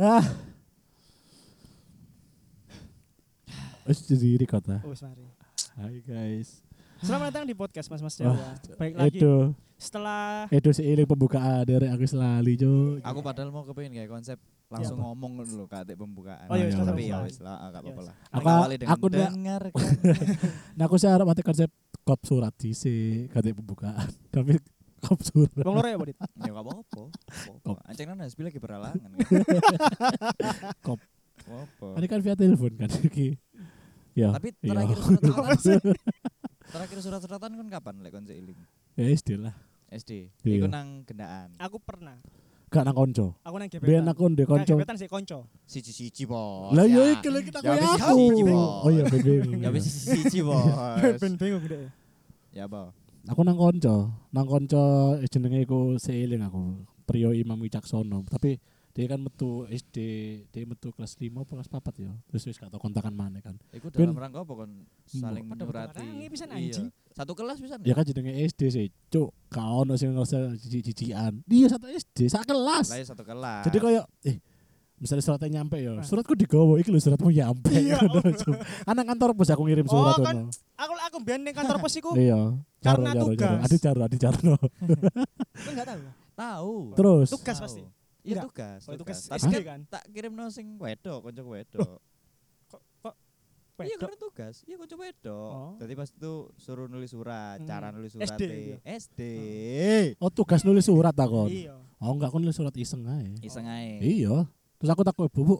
Ah. Wis jadi record ah. Oh, wis mari. Hai guys. Selamat datang di podcast Mas Mas Wah, Jawa. Baik lagi Edo, setelah Edo seiling pembukaan dari aku selalu cuk. Aku padahal mau kepengen kayak konsep langsung apa? ngomong dulu kate pembukaan. Oh, iya, wis, tapi langsung ya mulai. wis lah, enggak apa-apa Iya, lah. Aku- Mengawali dengan aku ndak- dengarkan. Nah aku sih harap mati konsep kop surat sih kata pembukaan. Tapi kop surat. Bang Loro ya, Bodit. ya enggak apa-apa. Kop. Ancen kan Hasbi lagi beralangan. Kop. Apa? Ini kan via telepon kan iki. Ya. Tapi iya. terakhir surat-suratan terakhir surat-suratan kan kapan lek kon seiling? ya istilah. SD. Iya. Iku nang gendaan. Aku pernah. Gak nang konco. Aku nang Biar gebetan. aku ndek Nang konco. gebetan sih konco. Siji-siji, Bos. Lah Ya. iya iki lek aku Ya, ya wis, aku. siji, Bos. Oh iya bingung. Ya wis siji, Bos. Ben bingung gede. Ya, Bos. Aku nang konco, nang konco eh, jenenge iku seiling aku. Priyo Imam Wicaksono, tapi dia kan metu SD, dia metu kelas 5 apa kelas 4 ya. Terus wis gak tau kontakan mana kan. Iku Ben- dalam rangka apa kon saling Padha-padha menyurati? marangi pisan, Iya. anjing. Satu kelas pisan. Ya kan jenenge SD sih, cuk. Gak ono sing ngerasa jijik-jijikan. Iya satu SD, sak Lah kelas. ya satu kelas. Jadi koyo eh misalnya suratnya nyampe ya, Ah. suratku digowo iki lho suratmu nyampe. Iya, Ngono, Cuk. Anak kantor pos aku ngirim Oh, surat kan ngono. Aku aku biar ning kantor pos iku, Iya. Jaro karena jaro jaro. tugas. Adi jaro, adi jaro. aku enggak tahu. tahu. Terus Tugas pasti. Iya Enggak. tugas. Oh, tugas Tapi SD kan kan. tak kirim no sing wedok, kanca wedok. Iya Oh, Wedok. karena tugas. Iya kanca wedok. Oh. Jadi pas itu suruh nulis surat, Hmm. cara nulis surat SD Hmm. e. gitu. SD. Oh tugas nulis surat takon. Iya. Oh enggak, aku nulis surat iseng aja. Iseng Oh. ae. Iya. Terus aku takut bu, bu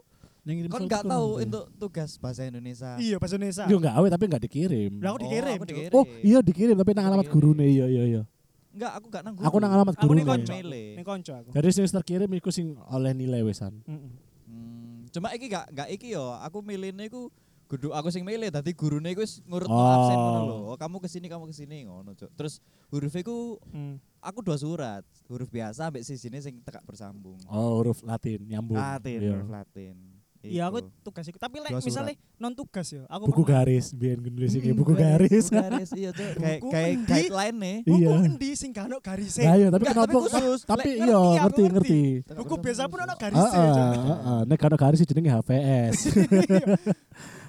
yang ngirim Kon surat ya?" gak kurang tahu apa?" itu tugas bahasa Indonesia. Iya, bahasa Indonesia. Yo enggak awe tapi enggak dikirim. Lah aku Oh, dikirim. aku Cuk. dikirim. Oh iya dikirim tapi nang Aku alamat dikirim. gurune iya iya iya. Enggak, aku gak nang Aku guru. nang alamat Aku ning gurune. konco. Milih. Ning konco aku. Jadi sing wis terkirim iku sing oleh nilai wesan. Mm-mm. Hmm, Cuma iki gak gak iki yo. Aku milihne iku Guduk aku sing milih tadi gurune iku wis ngurutno Oh. absen ngono lho. Oh, Kamu kesini kamu kesini ngono, Cuk. Terus huruf iku Mm. aku dua surat, huruf biasa ambek sisine sing tekak bersambung. Oh huruf Latin nyambung. Latin, Iya. huruf Latin. Iya, Iku. aku tugas iku. Tapi lek Dua surat. misalnya non tugas ya, aku Buku pernah- garis, biar nulis iki Hmm, Mm, ya, buku garis. Buku garis, iya, Cuk. Kayak Buku kayak endi? guideline nih. Buku Iya. endi sing gak ono garise? Nah, iya, tapi Enggak, kenapa? tapi khusus. Tapi Lek, iya, ngerti, aku ngerti ngerti. ngerti. Buku biasa pun ono Heeh, garise. Cuk. heeh. Nek kan garis jenenge HVS.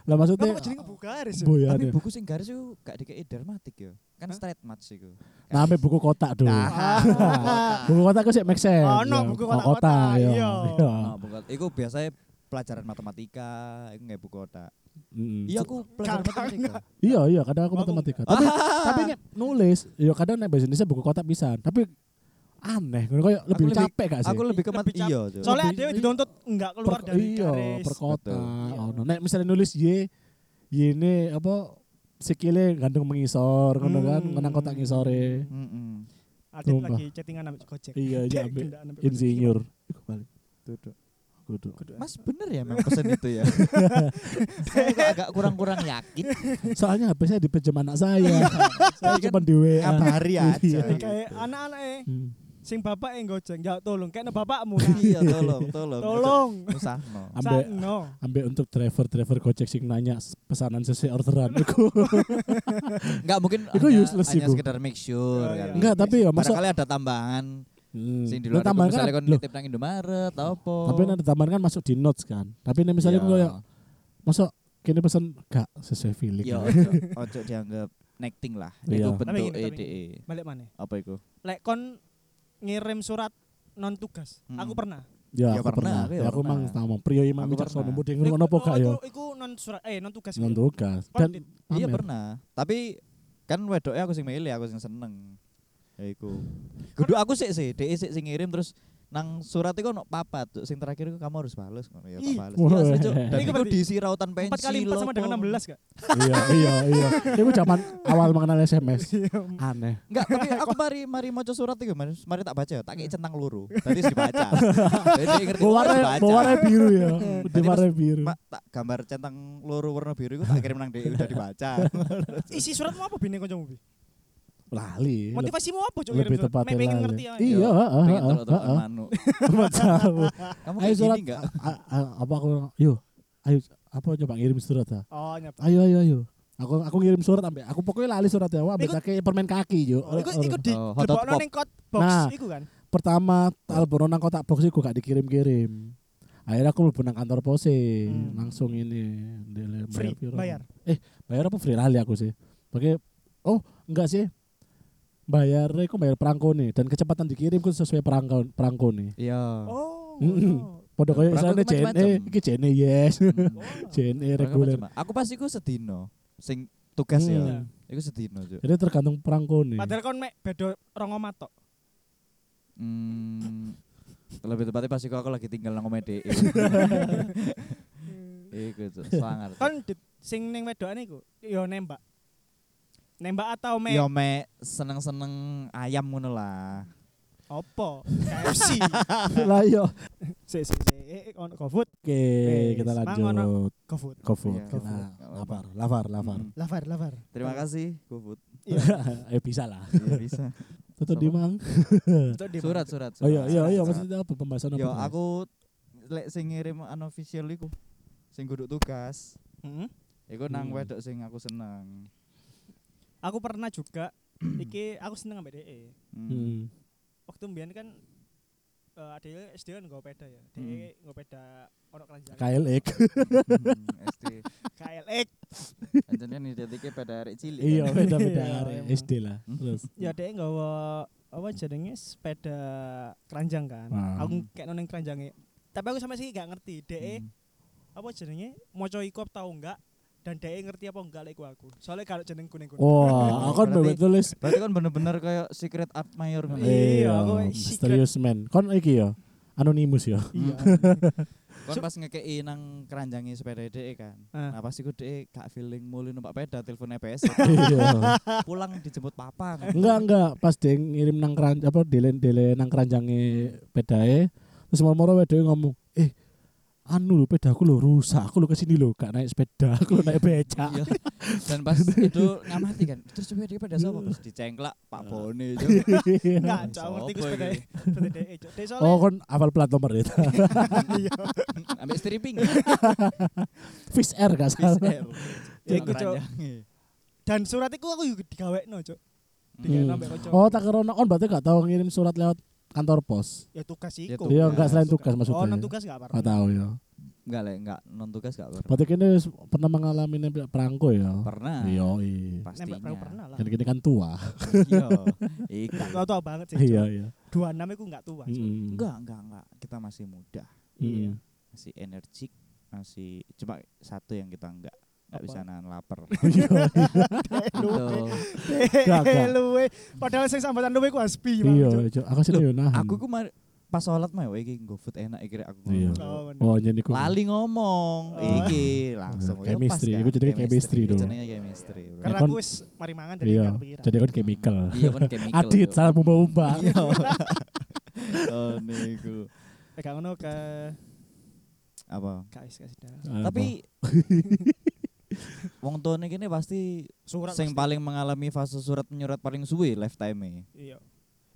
Lah Kenapa maksudnya kok jenenge buku garis? ya? Bu ya. Tapi Nek. buku sing garis iku gak dikei dermatik yo. Kan Hah? straight match iku. Nah, ambil buku kotak dulu. Nah, Buku kotak aku sih make sense. Ono, Ya, buku kotak, kotak-kotak, iya. iya. Iya. Nah, buku iku biasanya pelajaran matematika, iku nggak buku otak. Mm. Iya, aku pelajaran Kakak matematika. Iya iya kadang aku Aku matematika. enggak. Tapi tapi nek nulis, iya kadang nek bahasa Indonesia buku kotak bisa. Tapi aneh, ngono koyo lebih lebih- capek gak sih? Aku lebih ke mat Lebih cap- iya, Cuk. Soalnya Lebih- ada yang dituntut enggak keluar Per- dari iya, garis. per kota. Betul. Ono. Nek misalnya nulis Y, Y ini apa sikile gantung mengisor ngono kan, Hmm. ngenang kotak ngisore. Heeh. Adit Sumpah. lagi chattingan sama Gojek. Iya, iya, Dek, ambil gendaan ambil Gojek. Insinyur. Iku balik. Duduk. Duduk. Mas bener ya memang pesan itu ya. Saya kok agak kurang-kurang yakin. Soalnya HP saya dipinjam anak saya. saya Saya kan cuma di WA. kabari aja. Iya. Jadi kayak anak-anak eh Hmm. sing bapak eh Gojek, ya tolong kayaknya bapakmu. Iya, tolong, tolong. Tolong. Usahno. Ambek Sakno. ambek untuk driver-driver Gojek sing nanya pesanan sesuai orderan iku. Enggak mungkin Itu hanya, useless sih, hanya Bu. sekedar make sure Oh, iya. kan. Enggak, tapi ya masa Barangkali ada tambahan Hmm. sing di Lu luar itu tambahan misalnya kan- kon loh, nitip nang Indomaret atau apa. tapi nanti tambahan kan masuk di notes kan. Tapi nek misalnya Iya. yeah. kayak masuk kini pesan gak sesuai feeling. Ya ojo, ojo dianggap necting lah. Iya. Itu Tapi gini, bentuk tapi- EDE. Balik mana? Apa itu? Lek kon ngirim surat non tugas. Hmm. Aku pernah. Ya, Ya, aku pernah. pernah, aku ya Ya, aku pernah. mang ngomong prio imam Aku bijaksono pernah. mbok denger ngono apa Iku- gak ya. iku- Iku non surat eh non tugas. Ngono tugas. Kon Dan di- Iya pamer. pernah. Tapi kan wedoknya aku sing milih, aku sing seneng. Ya iku. Kudu aku sik sih, dhek sik sing ngirim terus nang surat itu ono papat, Cuk. sing terakhir iku kamu harus bales ngono ya, Ih. tak bales. Iya, asli, Cuk. Dan Ini iku berarti diisi rautan pensil. 4 kali 4 sama apa. dengan 16 gak? iya, iya, iya. Iku zaman awal mengenal SMS. Iya, Aneh. Enggak, tapi aku mari mari maca surat iku, mari, mari tak baca, tak kei centang loro. Tadi sih dibaca. Jadi dia ngerti oh, harus Warna baca. warna biru ya. Di Tadi pas- warna biru. Ma- tak gambar centang loro warna biru iku tak kirim nang dhek udah dibaca. Isi surat mau apa bini kancamu? Bi? Lali. Motivasimu apa cuk? Iya, Lebih ngirim surat? tepatnya Mek pengen lali. ngerti ya. Iya, Yo, heeh, Pengen heeh, telok-telokan heeh. manuk. Macam. Kamu Ayo kayak surat. gini enggak? A- a- Apa aku yo ayo apa coba ngirim surat ah. Oh, nyapa. Ayo ayo ayo. Aku aku ngirim surat ambek aku pokoknya lali surat ya, wah, ambek Ikut- kaki permen kaki yo. Oh, iku iku di Oh, hot dog lebokno pop. ning kot box Nah. iku kan. Pertama Talboro nang kotak box iku gak dikirim-kirim. akhirnya aku mlebu nang kantor pose Hmm. langsung ini ndele- Free, piro. bayar. eh bayar apa free lali aku sih pakai oh enggak sih bayar aku bayar perangko nih dan kecepatan dikirim ku sesuai perangko perangko nih Iya. Oh. Mm-mm. ngono. Podo kaya isane Perangko ku JNE, macam-macam. iki JNE E, yes. Hmm. Oh, JNE Mereka reguler. macam- Aku pasti ku sedino. Sing tugas Hmm. ya. Iku sedino, Cuk. Jadi tergantung perangko nih. Padahal kon mek bedo rongo matok. Hmm, lebih tepatnya pasti kok aku lagi tinggal nang omede. Hmm. Iku Cuk, sangar. Cuk. Kon di- sing ning wedokane iku yo nembak. Nembak atau mek Yo Ya, me seneng-seneng ayam ngono lah. opo? KFC. Lah iya. Sik sik sik Eh, eh, on GoFood, Oke, kita Wis, mangono. lanjut. GoFood. Kofood. Iya, Kita GoFood. lapar, lapar, lapar. Hmm. Iya. Lavar, lavar. Terima kasih, GoFood. Iya. eh bisa lah. Iya, bisa. Tutup Apa? di mang. Untuk di- Surat, surat. Oh iya, surat, iya, surat, iya surat. maksudnya apa pembahasan apa? Yo Mas? aku lek sing ngirim unofficial iku sing kudu tugas. Mm-mm. Iku nang Hmm. wedok sing aku seneng. Aku pernah juga iki aku seneng ambek DE. Hmm. Hmm. Waktu mbiyen kan eh adek SD kan nggo peda ya. Hmm. DE nggo peda ono keranjang. KLX. SD. KLX. Anjene nidatike pada arek cilik. kan? Iya, beda-beda Iya, arek emang. SD lah. Hmm. Terus. Ya dek nggawa apa jenenge sepeda keranjang kan. Ah. Aku kayak noneng keranjangnya. Tapi aku sampai sih gak ngerti dek Hmm. apa jenenge moco iku apa tau enggak dan dek ngerti apa enggak lek iku aku. Soalnya kalau jeneng kuning-kuning. Oh, Wah, aku kan Berarti- bebek tulis. Berarti kan bener-bener kayak secret kan? admirer ngono. Iya, aku secret. misterius Eh, man. Kon iki ya. Anonymous ya. Iya. Kon pas ngekei nang keranjangi sepeda dhek kan. Ah. Nah, pasti ku dhek gak feeling mulu numpak peda telepon EPS. Iya. Pulang dijemput papa. kan. Enggak, enggak. Pas dia ngirim nang keran apa delen delen nang keranjange pedae, terus moro-moro wedoke ngomong, "Eh, anu lho pedaku lho rusak. Aku lho kesini lho gak naik sepeda, aku lho naik becak." Iya. Dan pas itu ngamati kan. Terus coba dia pada sapa? Pas dicengklak Pak Bone. Cuk. Enggak, cok, aku ngerti ku Sopo sepeda iki? sepeda dek. Cok. Dek oh, soalnya kon hafal plat nomor ya. itu. Ambil stripping. Fish Air gak salah. Iya, Ya iku, Cok. dan surat iku aku juga digawekno, Cok. Digawekno Hmm. ambek kanca. Oh, tak kira on berarti gak tau ngirim surat lewat kantor pos. ya tugas Ya, iku. tugas. Iya, enggak selain tugas maksudnya. Oh, non tugas enggak apa-apa. Gak tahu ya. Enggak lah, enggak non tugas enggak pernah. Berarti kini pernah mengalami nembak perangko ya. Pernah. Iya, Nembak Pastinya. perahu pernah lah. Dan kini kan tua. Iya. Iku. Enggak tua banget sih. Iya, Hmm. iya. 26 iku enggak tua. Cok. Mm-mm. Enggak, enggak, enggak. Kita masih muda, Mm-mm. masih energik, masih cuma satu yang kita enggak enggak Apa? bisa nahan lapar. Iya. Betul. Gak, gak. luwe padahal sing sambatan luwe ku aspi Iya, Bang, Cuk. Cok. aku sini yo nahan. Aku ku mari- pas sholat mah "Wah, iki nggo food enak iki Rek." aku. Iya. ngomong. Oh, bener. Oh, jadi aku. Lali ngomong, Oh. iki langsung Nah, chemistry. Itu Iku jenenge chemistry dong. Jenenge chemistry. bro. karena Kon- aku wis mari mangan dari kan Iya. gak kepikiran. Jadi kan chemical. Iya kan chemical. Adit Cuk. salah bumba-bumba. Iya. Oh, niku. eh gak ngono ke Apa? guys guys Tapi wong tuane kene pasti surat sing pasti. paling mengalami fase surat menyurat paling suwe lifetime. iya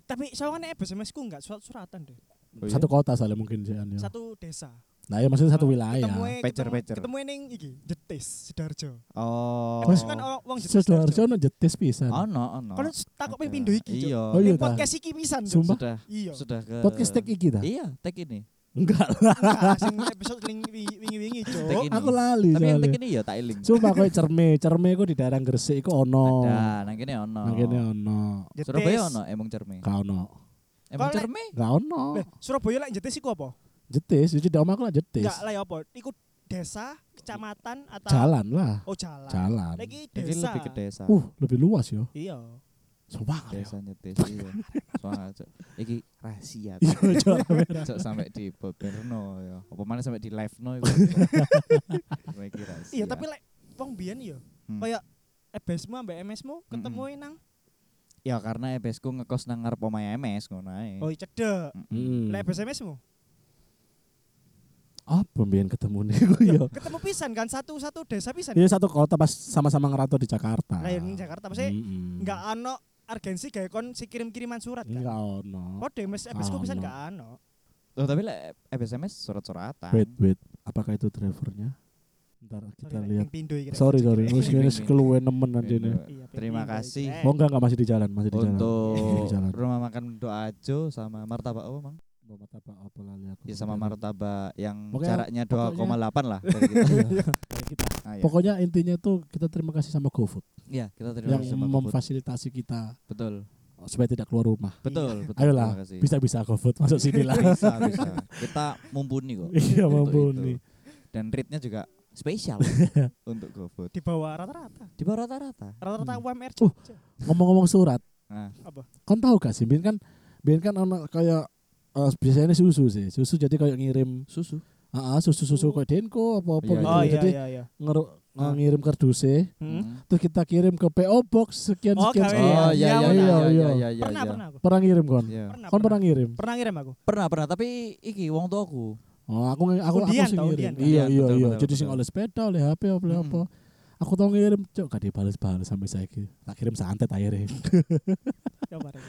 tapi soalnya ebe SMS ku enggak surat suratan deh satu kota salah mungkin sih An, ya. satu desa Nah, ya maksudnya satu Nah, wilayah. ketemue- ketemu- Pecer-pecer. ketemu ning iki jetis sidoarjo Oh. Terus kan orang wong jetis Sidoarjo ono jetis pisan. Ono, ono. kan takut ping pindho iki Cuk. Oh, Oh, Iya. iya, Ning ta. podcast iki pisan Cuk. Sumpah. Sudah iya sudah ke Podcast ya? tag iki ta? Iya, tag ini. Enggak lah. Enggak, sing episode ling- wingi- wingi-wingi Tag Cuk. ini. Aku lali. Tapi yang tag soalnya. ini ya tak link. Iya, Sumpah kowe cerme, cerme ku di daerah Gresik iku ono. Ada, nang kene ono. Nang kene ono. Jetis. Surabaya ono emong cerme. Gak ono. Emong Kalau- cerme? Gak ono. Eh. Leh, Surabaya lek jetis iku apa Jetis, jadi di omahku lah jetis. Enggak lah ya apa? Iku desa, kecamatan atau Jalan lah. Oh jalan. Jalan. Lagi Jadi desa. lebih ke desa. Uh, lebih luas yo. Iya. Sumpah. ya. Desa nyetis iya. Soalnya Cuk, iki rahasia. Iya, Cok. Cok sampai di Boberno ya. Apa mana sampai di live no iku. Cuma iki rahasia. Iya, tapi lek wong biyen iya. Hmm. Kayak EBS-mu ambek MS-mu ketemu e nang ya karena EBS ku ngekos nang ngarep omahe MS ngono ae. Oh, cedek. Mm-mm. Hmm. Lek EBS MS-mu Apa mbiyen ketemu niku yo. ketemu pisan kan satu-satu desa pisan. Iya satu kota pas sama-sama ngerantau di Jakarta. Lah ya, ning Jakarta pasti Mm-mm. enggak ono urgensi gawe kon si kirim-kiriman surat Enggak kan. ono. Kode mes Ah, EBS-ku pisan no. enggak ono. Loh, tapi lek EBS MS surat-suratan. Wait, wait. Apakah itu drivernya? Ntar kita Sorry, Lek, lihat. ping pindo iki. Lek. Sorry, sorry. Wing, Wis wing, kene wing. keluwen nemen anjene. Iya. Iya, ping Terima pindo iki, kasih. Lek. Oh enggak enggak masih di jalan, masih di jalan. Masih Untuk di jalan. rumah makan Doajo sama martabak apa, Mang? Mbok martabak apa lali aku. Ya sama martabak yang Pokoknya- jaraknya pokoknya- 2,8 lah dari kita. Iya, kayak gitu. Ah, ya. Pokoknya intinya itu kita terima kasih sama GoFood Iya, kita terima yang kasih sama GoFood. memfasilitasi kita Betul. supaya tidak keluar rumah. Betul, betul. Ayolah, terima kasih. bisa-bisa GoFood masuk sini lah. bisa, bisa. Kita mumpuni kok. Iya, untuk mumpuni. itu. Dan rate-nya juga spesial untuk GoFood. Di bawah rata-rata. Di bawah rata-rata. Rata-rata UMR Uh. Jogja. Ngomong-ngomong surat, Nah, apa? kon tahu gak sih Bin kan Bin kan ono kayak eh, biasanya susu sih. Susu jadi kayak ngirim susu. Heeh, susu-susu kayak Mm. Denko apa-apa Iya, gitu. Oh iya Jadi iya iya. ngeru- Ah. ngirim kardusnya Hmm? terus kita kirim ke PO Box sekian Oh, sekian. gawe sekian. ya. Oh iya iya Iya, iya iya. iya iya iya. Pernah iya. pernah aku. Pernah ngirim kon? Iya. Pernah. Kon pernah Pernah, ngirim? pernah ngirim aku. Pernah pernah tapi iki wong tuaku. Oh, aku nge- aku aku Undian sing tau, ngirim. undian. Iya, Undian, iya, betul, iya. betul, Jadi sing betul. oleh sepeda, oleh HP, oleh Mm-mm. apa. Aku tau ngirim, cok, gak dibales-bales sampai saiki. Tak kirim santet akhirnya. Coba Rek.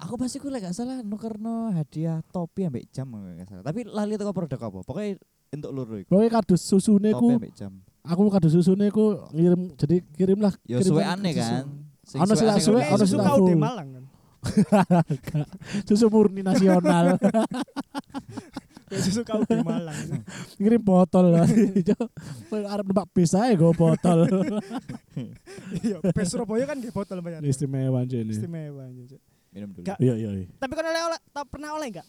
Aku pasti ku lek gak salah nukerno hadiah topi ambek jam enggak salah. Tapi lali teko produk apa? Pokoknya entuk loro iku. Pokoknya kardus susune Topi ku, ambek jam. aku kardus susune ku ngirim. Jadi kirimlah. Yo kirim suwe aneh e kan. Sing e Ono sing suwe- suwe, Eh, sing- ono susu sing kau full. di Malang kan. Susu murni nasional. Eh, Susu kau di Malang. ngirim botol. Cok, Koyo arep numpak bis ae go botol. Iya, pes Surabaya kan di botol banyak. Iya, Istimewa jene. Istimewa. Jogja. Minum dulu. Gak- Iya, iya. iya. Tapi kau oleh oleh tak pernah oleh enggak?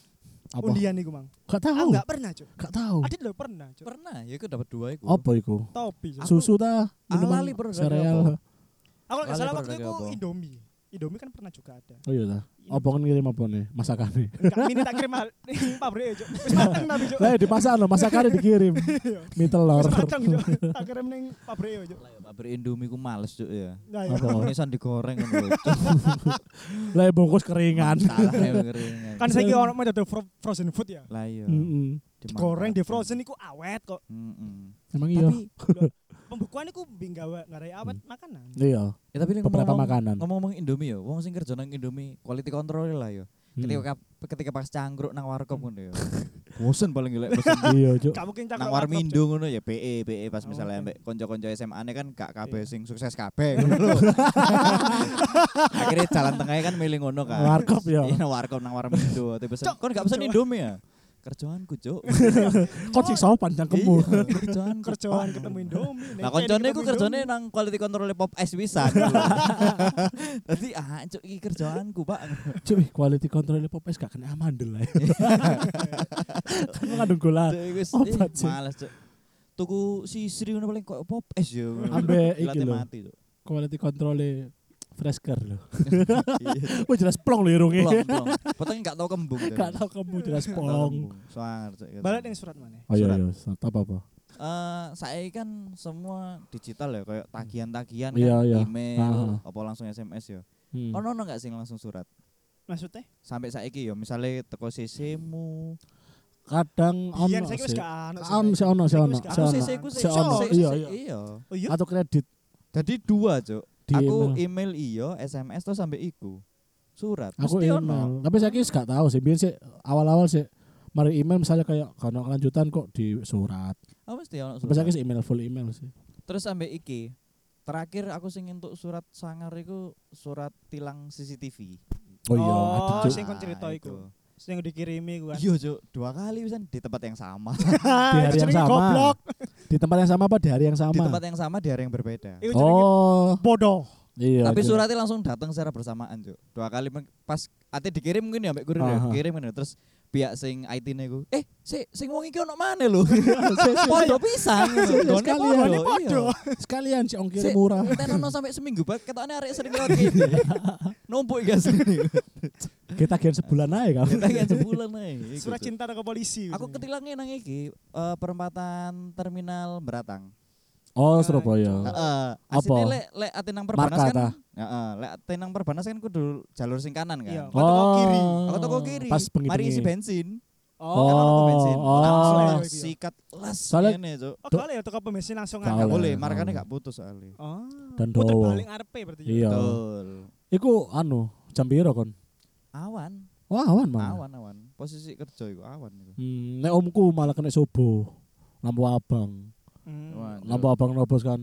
Apa? Undian iku, Mang. Gak Aku tahu. enggak pernah, Cuk. Gak tahu. Adit lho pernah, Cuk. Pernah, ya aku dapat dua iku. Apa iku? Topi. Cuk. Susu ta? Ah, Minuman lali, bro, gak ada apa. sereal. Aku enggak Lali salah pernah waktu itu apa? Indomie. Indomie kan pernah juga ada. Oh iya ta. Apa kan ngirim apa nih? Masakane. Enggak, ini tak kirim hal- ini pabrik Cuk. Wis mateng tapi, Cuk. Lah di pasar loh, masakannya dikirim. Iya. Mie telur. Wis mateng, Cuk. Tak kirim ning pabrik Cuk. iya. Lah, ya, pabrik Indomie ku males cuk ya. Nah, iya. Apa? Nisan digoreng ngono lho. Lah ya bungkus keringan. Salah ya, keringan. Kan saiki ono metode fro- frozen food ya. Lah iya. Mm-mm. Goreng di frozen iku awet kok. Mm-mm. Emang iya. Tapi lho, pembukuan iku menggawe ngarai awet makanan. Iya. Ya tapi Beberapa makanan. Ngomong-ngomong Indomie ya, wong sing kerja nang Indomie quality control lah ya. Mm. Ketika ketika pas cangkruk nang warkop ngono ya. Bosen paling gila bosen. Mm. Iya, Cuk. Gak mungkin nang cakap Warmindo ngono ya PE PE pas Oh, misalnya oke. ambek konco-konco SMA ne kan gak kabeh Iya. sing sukses kabeh ngono lho. Akhirnya jalan tengahnya kan milih ngono kan. Warkop ya. Iya nang warkop nang Warmindo tapi pesen. Cok, Kon gak pesen cok. Indomie ya? Kerjaanku, Cuk. Kok sih sopan cangkemmu. Iya, kerjaan kerjaan ketemu Indomie. Neng Nah, koncone Ken ku ketemu kerjane Indomie. nang quality control pop es bisa. Dadi ah cuk iki kerjaanku, Pak. Cuk, ih, quality control pop es gak kena amandel lah. ya. Kan mengandung gula. Cuk, iki wis obat, eh, Cuk. males, cuk. Tuku sisri ngono paling kok pop es yo. Ambek iki Dilatih lho. mati, cuk. Quality control fresker loh. Iya, cuk. Wah jelas plong loh irungnya. Plong, Iya. plong. Potongnya gak tau kembung. cuk. Gak tau kamu jelas Gak tau plong. kembung. Sangar, cuk, gitu. Balik ning surat mana? Oh iya Surat. iya, Sat, apa-apa. Eh, saya kan semua digital ya, kayak tagihan-tagihan Iya, kan, iya. email, Ah. apa langsung SMS ya. Hmm. Ono ono gak sih langsung surat? Maksudnya? Sampai saiki ya, misalnya teko CC-mu, Kadang ono Biyen saiki wis sih. Iya, gak ana. sih. Ono sih ono sih Saiki ono. wis gak sih ono. ono. Aku CC ku Si ono, CC, iya, CC, iya. iya. Oh iya. Atau kredit Jadi dua, Cuk. di Aku email. email iya, iyo, SMS tuh sampai iku. Surat. Aku Mesti email. Tapi saya kis gak tahu sih. Biar sih awal-awal sih mari email misalnya kayak karena kelanjutan kok di surat. Oh, mesti ono Tapi surat. saya kis email full email sih. Terus sampai iki. Terakhir aku sing untuk surat sangar iku surat tilang CCTV. Oh iya, Oh, aduh, Cuk. sing kon cerita iku. Sing dikirimi ku kan. Nah, Iya, Cuk. Dua kali pisan di tempat yang sama. di hari yang sama. Goblok. Di tempat yang sama apa di hari yang sama? di tempat yang sama di hari yang berbeda. Iku jenenge oh, bodoh. iya. Tapi Cuk. suratnya langsung datang secara bersamaan, Cuk. Dua kali men- pas ate dikirim mungkin ya mbek kurir ya, Aha. kirim ngono. Terus pihak sing IT-ne ku, "Eh, si sing wong iki ono maneh lho." Podo pisan. Gone sekalian. podo, Gone iya. sekalian si ongkir Sik. murah. Tenono sampai seminggu pak, ketoknya arek sering lewat gini. Numpuk iki asli. Kita kian sebulan aja kamu. Tangan sebulan ae. Surat cinta ke polisi. Aku jenenge. ketilangnya nang iki eh, perempatan terminal Beratang. Oh, Ah, Surabaya. Heeh. Apa? Asline lek lek ate nang Perbanas Marka ta? kan. Heeh, lek ate nang Perbanas kan kudu jalur sing kanan Iya. kan. Kau toko kiri. Aku toko kiri. Oh. Pas Mari isi bengi-bengi. bensin. Oh, Oh. Kan ono tuh bensin. oh. Langsung Iya, lah, iya. sikat las Soalnya- ngene, Cuk. Oh, kalau ya toko bensin langsung Gak Gak ngangkat. Boleh, boleh, gak markane boleh. gak putus soalnya. Oh. Dan Puter dowo. balik arepe berarti. ya? Iya. Betul. Iku anu jam piro kon? Awan, Wah, awan malah. awan, awan. Posisi kerja iku awan iku. Hmm, nek omku malah kena subuh. Lampu abang. Hmm. Wah, Lampu abang nobos kan.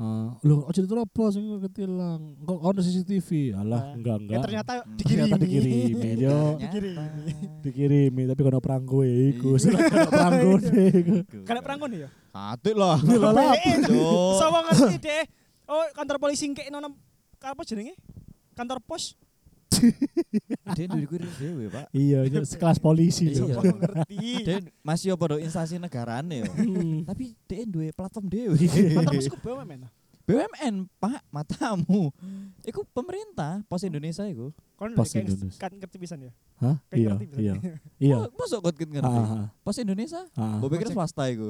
Eh, lho ojo diterobos sing ketilang. Kok ono CCTV? Alah, Ah. enggak enggak. Ya, Eh, ternyata Hmm. dikirimi. Ternyata dikirimi, yo. Dikirimi. dikirimi tapi kono perangku ya iku. Iya. Kono perangku deh iku. Karena perangkon ya. Katik lah. Lelap. Cuk. Sawa ngerti deh. Oh, kantor polisi ngkekno nang apa jenenge? Kantor pos. Dia duwe kuwi dhewe, Pak. Iya, iya, sekelas polisi. Iya. loh. Sawa ngerti. Dia masih apa do instansi negarane yo. Hmm. Tapi dia duwe platform dhewe. Kantor posku bae men. BUMN, Pak, matamu. Iku pemerintah, Pos Indonesia iku. Kon Pos kayak Indonesia. kan ngerti pisan ya. Hah? Kayak Iya, ngerti pisan. iya. Iya. Oh, Mosok kok ngerti. Heeh. Pos ah. Indonesia? Heeh. Gue pikir Gojek. swasta iku.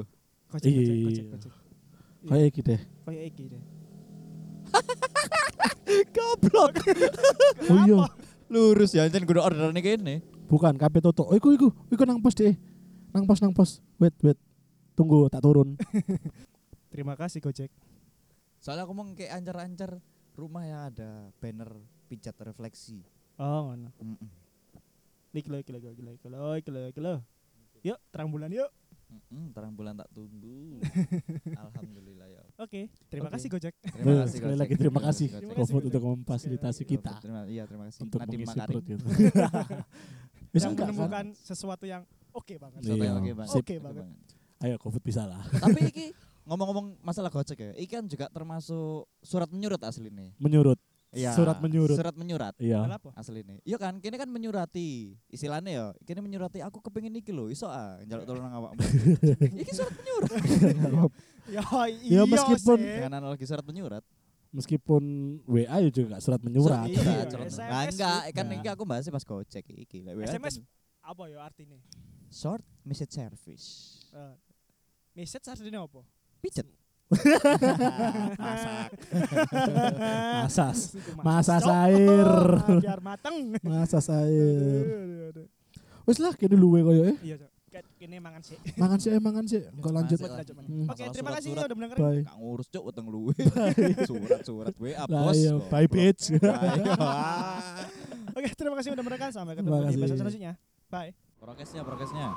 Kocek kocek Iya. kocek kocek. Kayak gitu ya? iki deh. Kayak iki deh. Goblok. Oh iya. Lurus ya, jan kudu orderane kene. Bukan KP Toto. Oh, iku iku iku nang pos deh. Nang pos nang pos. Wait wait. Tunggu tak turun. Terima kasih Gojek. Soalnya aku mau kayak ancar-ancar rumah yang ada banner pijat refleksi. Oh, ngono. Iki lho, iki lho, iki lho, iki lho, iki lho, iki lho. Yuk, terang bulan yuk. Mm-mm, terang bulan tak tunggu. Alhamdulillah ya. Oke, terima Oke. kasih Gojek. Eh, sekali lagi terima kasih Terima kasih, GoFood Gojek. untuk memfasilitasi Sekali kita Terima, iya, terima kasih. untuk Nadiem mengisi Makarim. perut gitu. Bisa Yang enggak, San? menemukan sesuatu yang oke banget. Iya. Satu yang oke banget. Oke Oke banget. banget. Ayo GoFood bisa lah. Tapi iki ngomong-ngomong masalah gojek ya, iki kan juga termasuk surat menyurat aslinya. Menyurut. Iya. Surat menyurut. Surat menyurat. Iya. Kenapa? aslinya iya kan kini kan menyurati istilahnya ya kini menyurati aku kepengin iki lho iso ah njaluk tolong nang awakmu iki surat menyurat Ya Ya, iya. meskipun- sih. dengan analogi surat menyurat Meskipun WA ya juga nggak surat menyurat. Iya, Surat- surat SMS menyurat. Nah, enggak kan juga. ini aku bahasnya pas gojek iki Lek WA kan SMS. apa ya artinya? short message service Eh, message artinya apa? pijet masak Masas. Itu Masas Cok. air. Ah, Biar mateng. Masas Aduh, air. aduh, aduh. Wis lah kene luwe koyo eh. Iya, Cok. Kayak Ini mangan sih. Mangan sih, eh, mangan sih. Enggak lanjut. Masih. Lanjut, lanjut, lanjut. Hmm. Oke, Masalah terima kasih ya surat-surat. udah mendengerin. Bye. gak ngurus cuk utang luwe surat-surat Lah WA bos iya, bye Goblok. bitch. Ayo, ah. Oke, terima kasih udah mendengarkan. Sampai ketemu Terima di episode kasih. selanjutnya. Bye. prokesnya prokesnya